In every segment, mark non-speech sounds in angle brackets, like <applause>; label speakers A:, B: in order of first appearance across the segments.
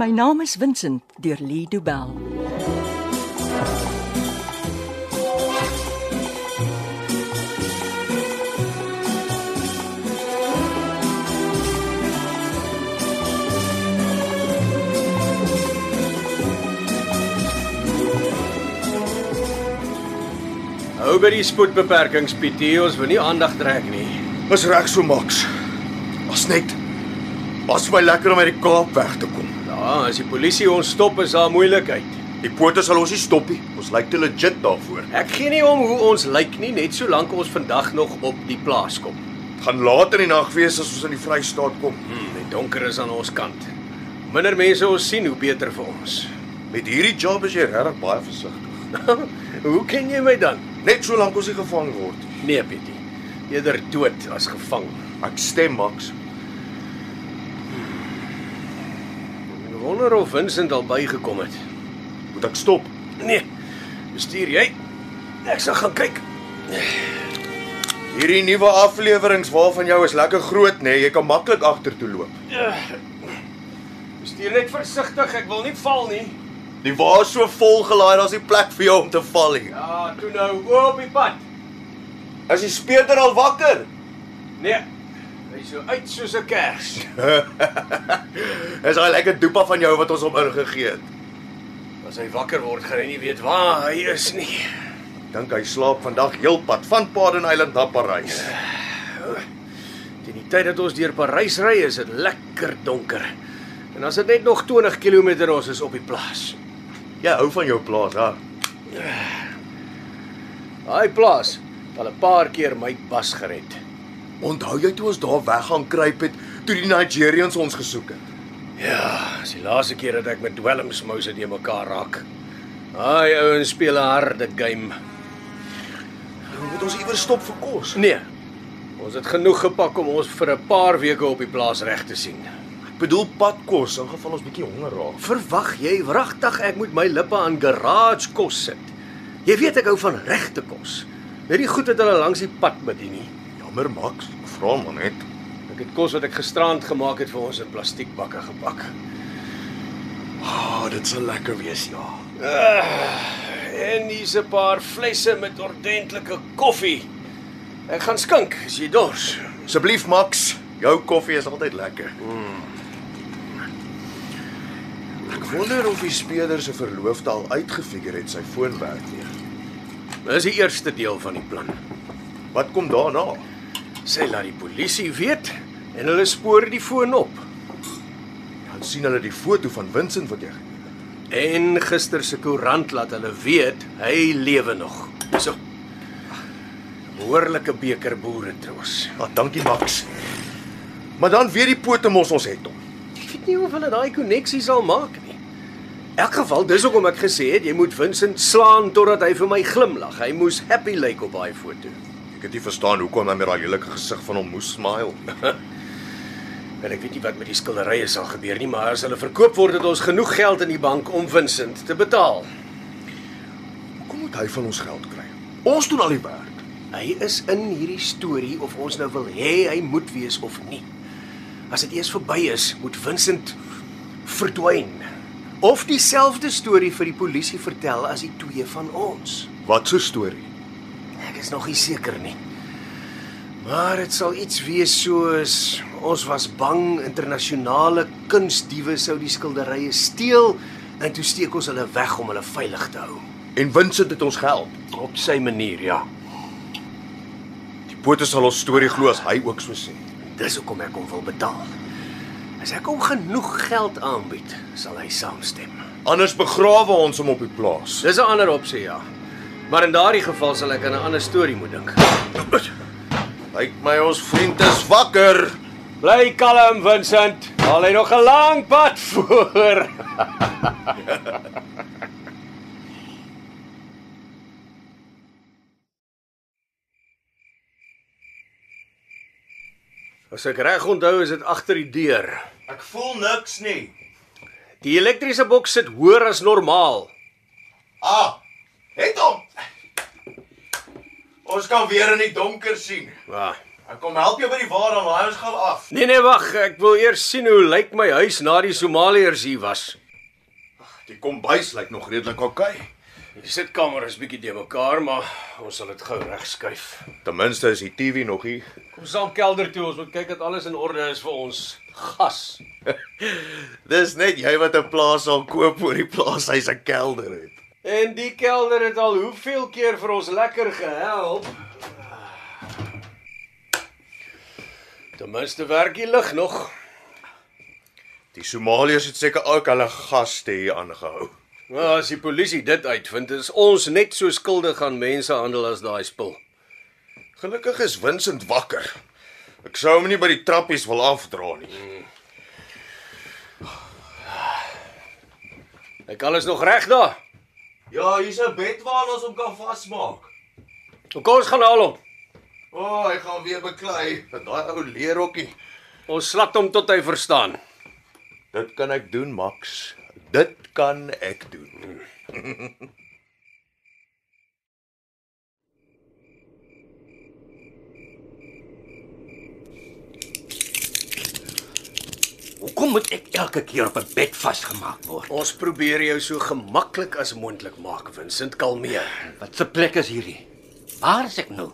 A: My naam is Vincent deur Lee Du Bell.
B: Hou by die spoedbeperkings, Pietie, ons wil nie aandag trek nie.
C: Is reg so Max. Was net was my lekker om uit die Kaap weg te kom.
B: Ja, as die polisie ons stop, is daar moeilikheid.
C: Die pote sal ons nie stop nie. Ons lyk te legit daarvoor.
B: Ek gee nie om hoe ons lyk nie, net solank ons vandag nog op die plaas kom.
C: Dit gaan laat in die nag wees as ons in die Vrystaat kom.
B: Hmm, die donker is aan ons kant. Minder mense ons sien, hoe beter vir ons. <laughs>
C: Met hierdie job is jy regtig baie versigtig.
B: hoe ken jy my dan?
C: Net solank ons nie gevang word nie.
B: Nee, Pietie. Eerder dood as gevang.
C: Ek stem Max.
B: Ek wonder of Vincent al bygekom het.
C: Moet ek stop?
B: Nee. Bestuur jy? Ek sal gaan kyk.
C: Hierdie nuwe afleweringe waarvan jou is lekker groot nê. Nee. Jy kan maklik agtertoe loop.
B: Bestuur net versigtig, ek wil nie val nie.
C: Die wa is so vol gelaai, daar's nie plek vir jou om te val nie.
B: Ja, toe nou oop die pad.
C: As die speurder al wakker.
B: Nee. Hy's so uit soos 'n kers.
C: <laughs> Is daai lekker dopa van jou wat ons hom ingegee het.
B: As hy wakker word, gaan hy nie weet waar hy is nie.
C: Dink hy slaap vandag heelpad van Paden Island na Parys.
B: Teen die tyd dat ons deur Parys ry, is dit lekker donker. En as dit net nog 20 km ons is op die plaas.
C: Jy hou van jou plaas, hè?
B: Daai plaas het al 'n paar keer my bas gered.
C: Onthou jy toe ons daar weggaan kruip het toe die Nigerians ons gesoek het?
B: Ja, dis die laaste keer dat ek met dwelmsmouse te mekaar raak. Daai ouens speel 'n harde game.
C: Nou moet ons iewers stop vir kos.
B: Nee. Ons het genoeg gepak om ons vir 'n paar weke op die plaas reg te sien.
C: Ek bedoel padkos in geval ons bietjie honger raak.
B: Verwag jy wragtig ek moet my lippe aan garage kos sit? Jy weet ek hou van regte kos. Net die goed wat hulle langs die pad bedien nie.
C: Jammer Max, ek vra maar net.
B: Ek het kos wat ek gisteraand gemaak het vir ons in plastiekbakke gepak.
C: Ah, oh, dit sal lekker wees, ja.
B: En hier's 'n paar flesse met ordentlike koffie. Ek gaan skink as jy dors.
C: Asseblief Max, jou koffie is altyd lekker. Hmm. Ek wonder of die speurder se verloofde al uitgefigure het sy foon werk nie.
B: Dis die eerste deel van die plan.
C: Wat kom daarna?
B: Sy laat die polisie weet en hulle spoor die foon op.
C: Dan sien hulle die foto van Vincent wat jy geneem
B: En gister se koerant laat hulle weet hy lewe nog. So. Behoorlike beker boere troos.
C: het. Ah, dankie Max. Maar dan weer die pote mos ons het hom.
B: Ek weet nie of hulle daai koneksie sal maak nie. In elk geval, dis hoekom ek gesê het jy moet Vincent slaan totdat hy vir my glimlag. Hy moes happy lyk op daai foto.
C: Ek het nie verstaan hoekom hy met daai lelike gesig van hom moes smile.
B: En ek weet nie wat met die skilderye sal gebeur nie, maar as hulle verkoop word, het ons genoeg geld in die bank om Vincent te betaal.
C: Hoekom moet hy van ons geld kry? Ons doen al die werk.
B: Hy is in hierdie storie of ons nou wil hê hy moet wees of nie. As dit eers verby is, moet Vincent verdwyn of dieselfde storie vir die polisie vertel as die twee van ons.
C: Wat 'n storie.
B: Ek is nog nie seker nie. Maar dit sal iets wees soos ons was bang internasionale kunstdiewe sou die skilderye steel en toe steek ons hulle weg om hulle veilig te hou.
C: En Vincent het ons gehelp.
B: Op sy manier, ja.
C: Die pote sal ons storie glo as hy ook so sê.
B: Dis hoekom ek hom wil betaal. As ek hom genoeg geld aanbied, sal hy saamstem.
C: Anders begrawe ons hom op die plaas.
B: Dis 'n ander opsie, ja. Maar in daardie geval sal ek aan 'n ander storie moet dink.
C: Lyk my ons vriend is wakker.
B: Bly kalm, Vincent. Al hy nog 'n lang pad <laughs> voor. As ek reg onthou, is dit agter die deur.
C: Ek voel niks nie.
B: Die elektriese boks sit hoër as normaal.
C: Ah, het hom. Ons kan weer in die donker sien.
B: Ja.
C: Ek
D: Ek kom help jou by die wa dan laai ons gou af.
B: Nee nee, wag, ek wil eers sien hoe lyk my huis na die Somaliërs hier was.
C: Die kombuis lyk nog redelik oukei. Okay.
B: Die sitkamer is bietjie de mekaar, maar ons sal dit gou regskuif.
C: Ten minste is die TV nog hier.
B: Kom saam kelder toe, ons moet kyk dat alles in orde is vir ons gas.
C: Dis net jy wat 'n plaas sal koop oor die plaas hy's 'n kelder het.
B: En die kelder het al hoeveel keer vir ons lekker gehelp. Ten minste werk die lig nog.
C: Die Somaliërs het seker ook hulle gaste hier aangehou.
B: Nou, as die polisie dit uitvind, is ons net so skuldig aan mensehandel as daai spul.
C: Gelukkig is Vincent wakker. Ek sou hom nie by die trappies wil afdra nie.
B: Ek alles nog reg daar.
D: Ja, hier's 'n bed waar ons hom kan vasmaak.
B: Kom ons gaan haal hom.
C: O, oh, hy gaan weer beklei met daai ou leerhokkie.
B: Ons slat hom tot hy verstaan.
C: Dit kan ek doen, Max. Dit kan ek doen.
E: Hoekom moet ek elke keer op 'n bed vasgemaak word?
B: Ons probeer jou so gemaklik as moontlik maak, Vincent, kalmeer.
E: Wat 'n plek is hierdie? Waar is ek nou?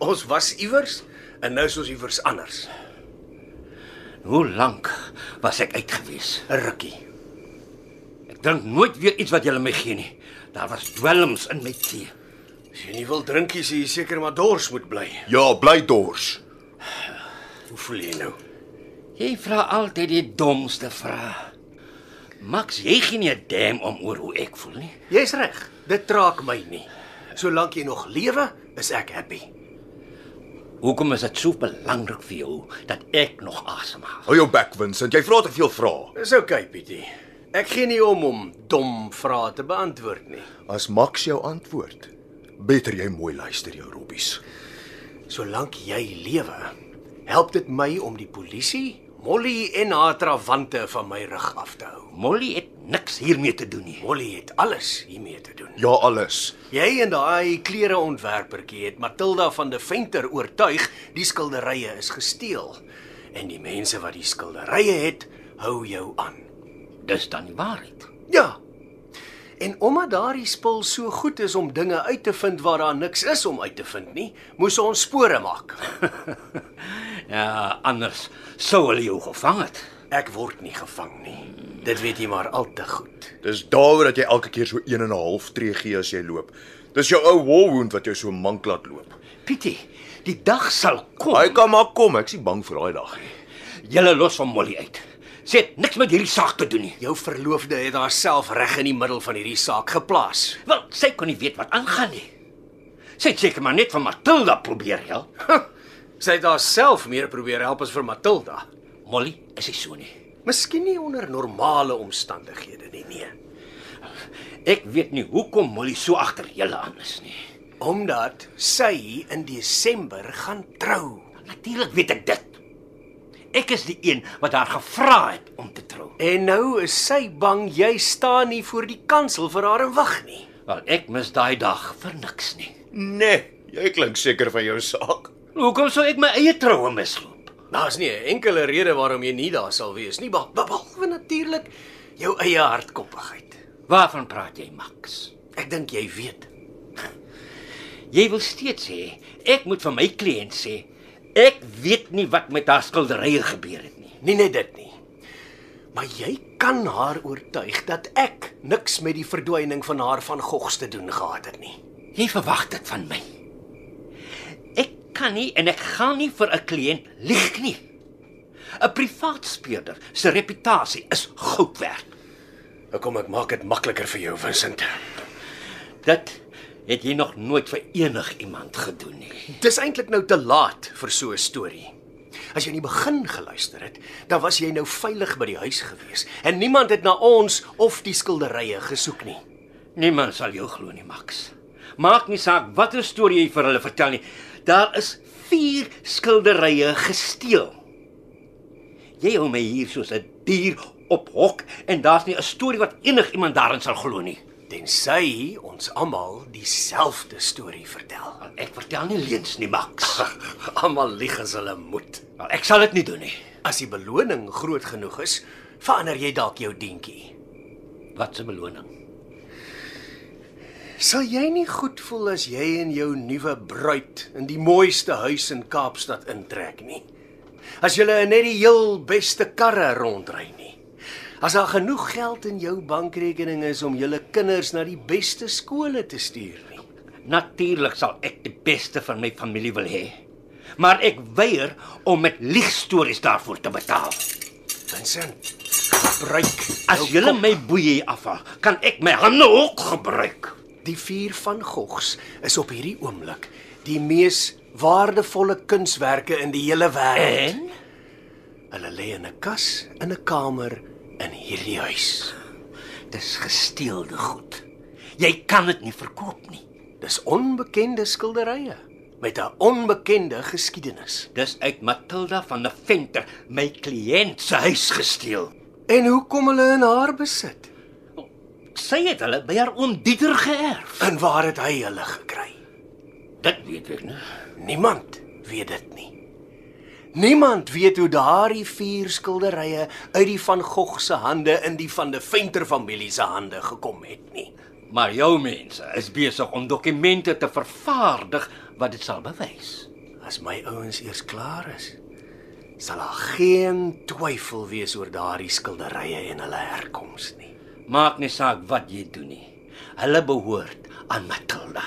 B: Ons was iewers en nou is ons iewers anders.
E: Hoe lank was ek uitgewees?
B: 'n Rukkie.
E: Ek drink nooit weer iets wat julle my gee nie. Daar was dwelms in my tee.
B: As jy nie wil drink, is jy seker maar dors moet bly.
C: Ja, bly dors.
B: Hoe voel jy nou?
E: Jy vra altyd die domste vrae. Max, jy gee nie 'n damn om oor hoe ek voel nie.
B: Jy's reg. Dit traak my nie. Solank jy nog lewe, is ek happy.
E: Hoekom is dit so belangrik vir jou dat ek nog asemhaal?
C: Hou jou bek, Vincent. Jy vra te veel vrae.
B: Dis oukei, okay, Pietie. Ek gee nie om om dom vrae te beantwoord nie.
C: As Max jou antwoord, beter jy mooi luister jou robbies.
B: Solank jy lewe, help dit my om die polisie, Molly en haar trawante van my rug af te hou.
E: Molly het niks hiermee te doen nie.
B: Molly het alles hiermee te doen.
C: Ja, alles.
B: Jy en daai klereontwerpertjie het Matilda van die Venter oortuig die skilderye is gesteel. En die mense wat die skilderye het, hou jou aan.
E: Dis dan die waarheid. <laughs>
B: Ja. En omdat daardie spul so goed is om dinge uit te vind waar daar niks is om uit te vind nie, moes ons spore maak.
E: Ja, anders sou hulle jou gevang het.
B: Ek word nie gevang nie. Dit weet jy maar al te goed.
C: Dis daaroor dat jy elke keer so 1 en 'n half tree gee as jy loop. Dis jou ou wall wound wat jou so mank laat loop.
E: Pietie, die dag sal kom.
C: Hy kan maar kom, ek's nie bang vir daai dag nie.
E: Julle los hom Molly uit. Sê het niks met hierdie saak te doen nie.
B: Jou verloofde het haarself reg in die middel van hierdie saak geplaas.
E: Wel, sy kon nie weet wat aangaan nie. Sy het seker maar net van Matilda probeer help.
B: Sy het haarself meer probeer help as vir Matilda.
E: Molly is nie so nie.
B: Miskien nie onder normale omstandighede nie, nee.
E: Ek weet nie hoekom Molly so agter julle aan is nie.
B: Omdat sy in Desember gaan trou.
E: Natuurlik weet ek dit. Ek is die een wat haar gevra het om te trou.
B: En nou is sy bang jy staan nie voor die kansel vir haar en wag nie.
E: Wel, ek mis daai dag vir niks nie.
C: Nee, jy klink seker van jou saak.
E: Hoekom sou ek my eie troue misloop?
B: Daar's nie 'n enkele rede waarom jy nie daar sal wees nie, beh- behalwe natuurlik jou eie hardkoppigheid.
E: Waarvan praat jy, Max?
B: Ek dink jy weet.
E: Jy wil steeds sê ek moet vir my kliënt sê ek weet nie wat met haar skilderye gebeur het nie.
B: Nie net dit nie. Maar jy kan haar oortuig dat ek niks met die verdwyning van haar van Gogs te doen gehad het nie.
E: Jy verwag dit van my. Ek kan nie en ek gaan nie vir 'n kliënt lieg nie. 'n Privaat speurder se reputasie is goud werd.
B: Nou kom ek maak dit makliker vir jou, Vincent.
E: Dit het jy nog nooit vir enigiemand gedoen nie.
B: Dis eintlik nou te laat vir so 'n storie. As jy in die begin geluister het, dan was jy nou veilig by die huis gewees en niemand het na ons of die skilderye gesoek nie.
E: Niemand sal jou glo nie, Max. Maak nie saak watter storie jy vir hulle vertel nie. Daar is 4 skilderye gesteel. Jy hou my hier soos 'n dier op hok en daar's nie 'n storie wat enigiemand daarin sal glo nie.
B: Tensy ons almal dieselfde storie vertel.
E: Want Ek vertel nie leuns nie, Max.
B: Almal lieg as hulle moet.
E: Wel, ek sal dit nie doen nie.
B: As die beloning groot genoeg is, verander jy dalk jou dientjie.
E: Wat 'n beloning.
B: Sal jy nie goed voel as jy en jou nuwe bruid in die mooiste huis in Kaapstad intrek nie? As julle in net die heel beste karre rondry nie. As daar genoeg geld in jou bankrekening is om julle kinders na die beste skole te stuur nie.
E: Natuurlik sal ek die beste van my familie wil hê. Maar ek weier om met liegstories daarvoor te betaal.
B: Vincent, gebruik
E: As julle my boeie afhaal, kan ek my hande ook gebruik.
B: Die vuur van Gogs is op hierdie oomblik die mees waardevolle kunswerke in die hele wêreld.
E: En
B: Hulle lê in 'n kas in 'n kamer in hierdie huis.
E: dis gesteelde goed. Jy kan dit nie verkoop nie.
B: Dis onbekende skilderye met 'n onbekende geskiedenis.
E: Dis uit Matilda van der Venter, my kliënt se huis gesteel.
B: En hoe kom hulle in haar besit?
E: Sy het hulle by haar oom Dieter geërf.
B: En waar het hy hulle gekry?
E: Dit weet ek nie.
B: Niemand weet dit nie. Niemand weet hoe daardie vier skilderye uit die van Gogh se hande in die van die Venter familie se hande gekom het nie.
E: Maar jou mense is besig om dokumente te vervaardig wat dit sal bewys.
B: As my ouens eers klaar is, sal daar geen twyfel wees oor daardie skilderye en hulle herkoms nie.
E: Maak nie saak wat jy doen nie. Hulle behoort aan Matilda.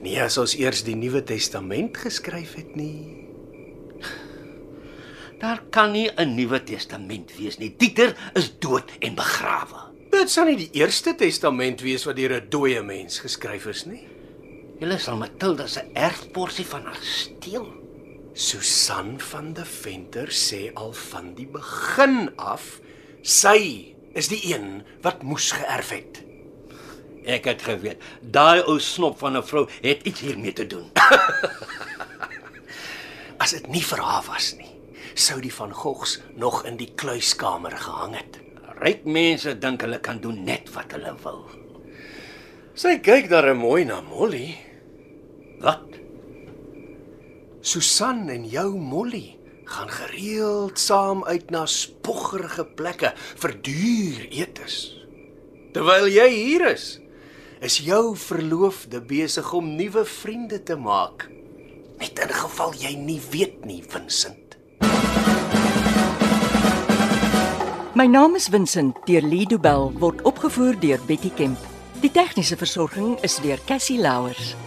B: Nie as ons eers die Nuwe Testament geskryf het nie.
E: Daar kan nie 'n Nuwe Testament wees nie. Dieter is dood en begrawe.
B: Dit sal nie die Eerste Testament wees wat deur 'n dooie mens geskryf is nie.
E: Julle sal Matilda se erfporsie van haar steel.
B: Susan van der Venter sê al van die begin af sy is die een wat moes geërf het.
E: Ek het geweet, daai ou snop van 'n vrou het iets hiermee te doen.
B: As dit nie vir haar was nie, sou die van Gogs nog in die kluiskamer gehang het.
E: Ryk mense dink hulle kan doen net wat hulle wil.
B: Sy kyk darem mooi na Molly.
E: Wat?
B: Susan en jou Molly gaan gereeld saam uit na spoggerige plekke vir duur etes. Terwyl jy hier is, is jou verloofde besig om nuwe vriende te maak. Net in geval jy nie weet nie, Vincent.
A: My naam is Vincent deur Lido Bell word opgevoer deur Betty Kemp. Die tegniese versorging is deur Cassie Louers.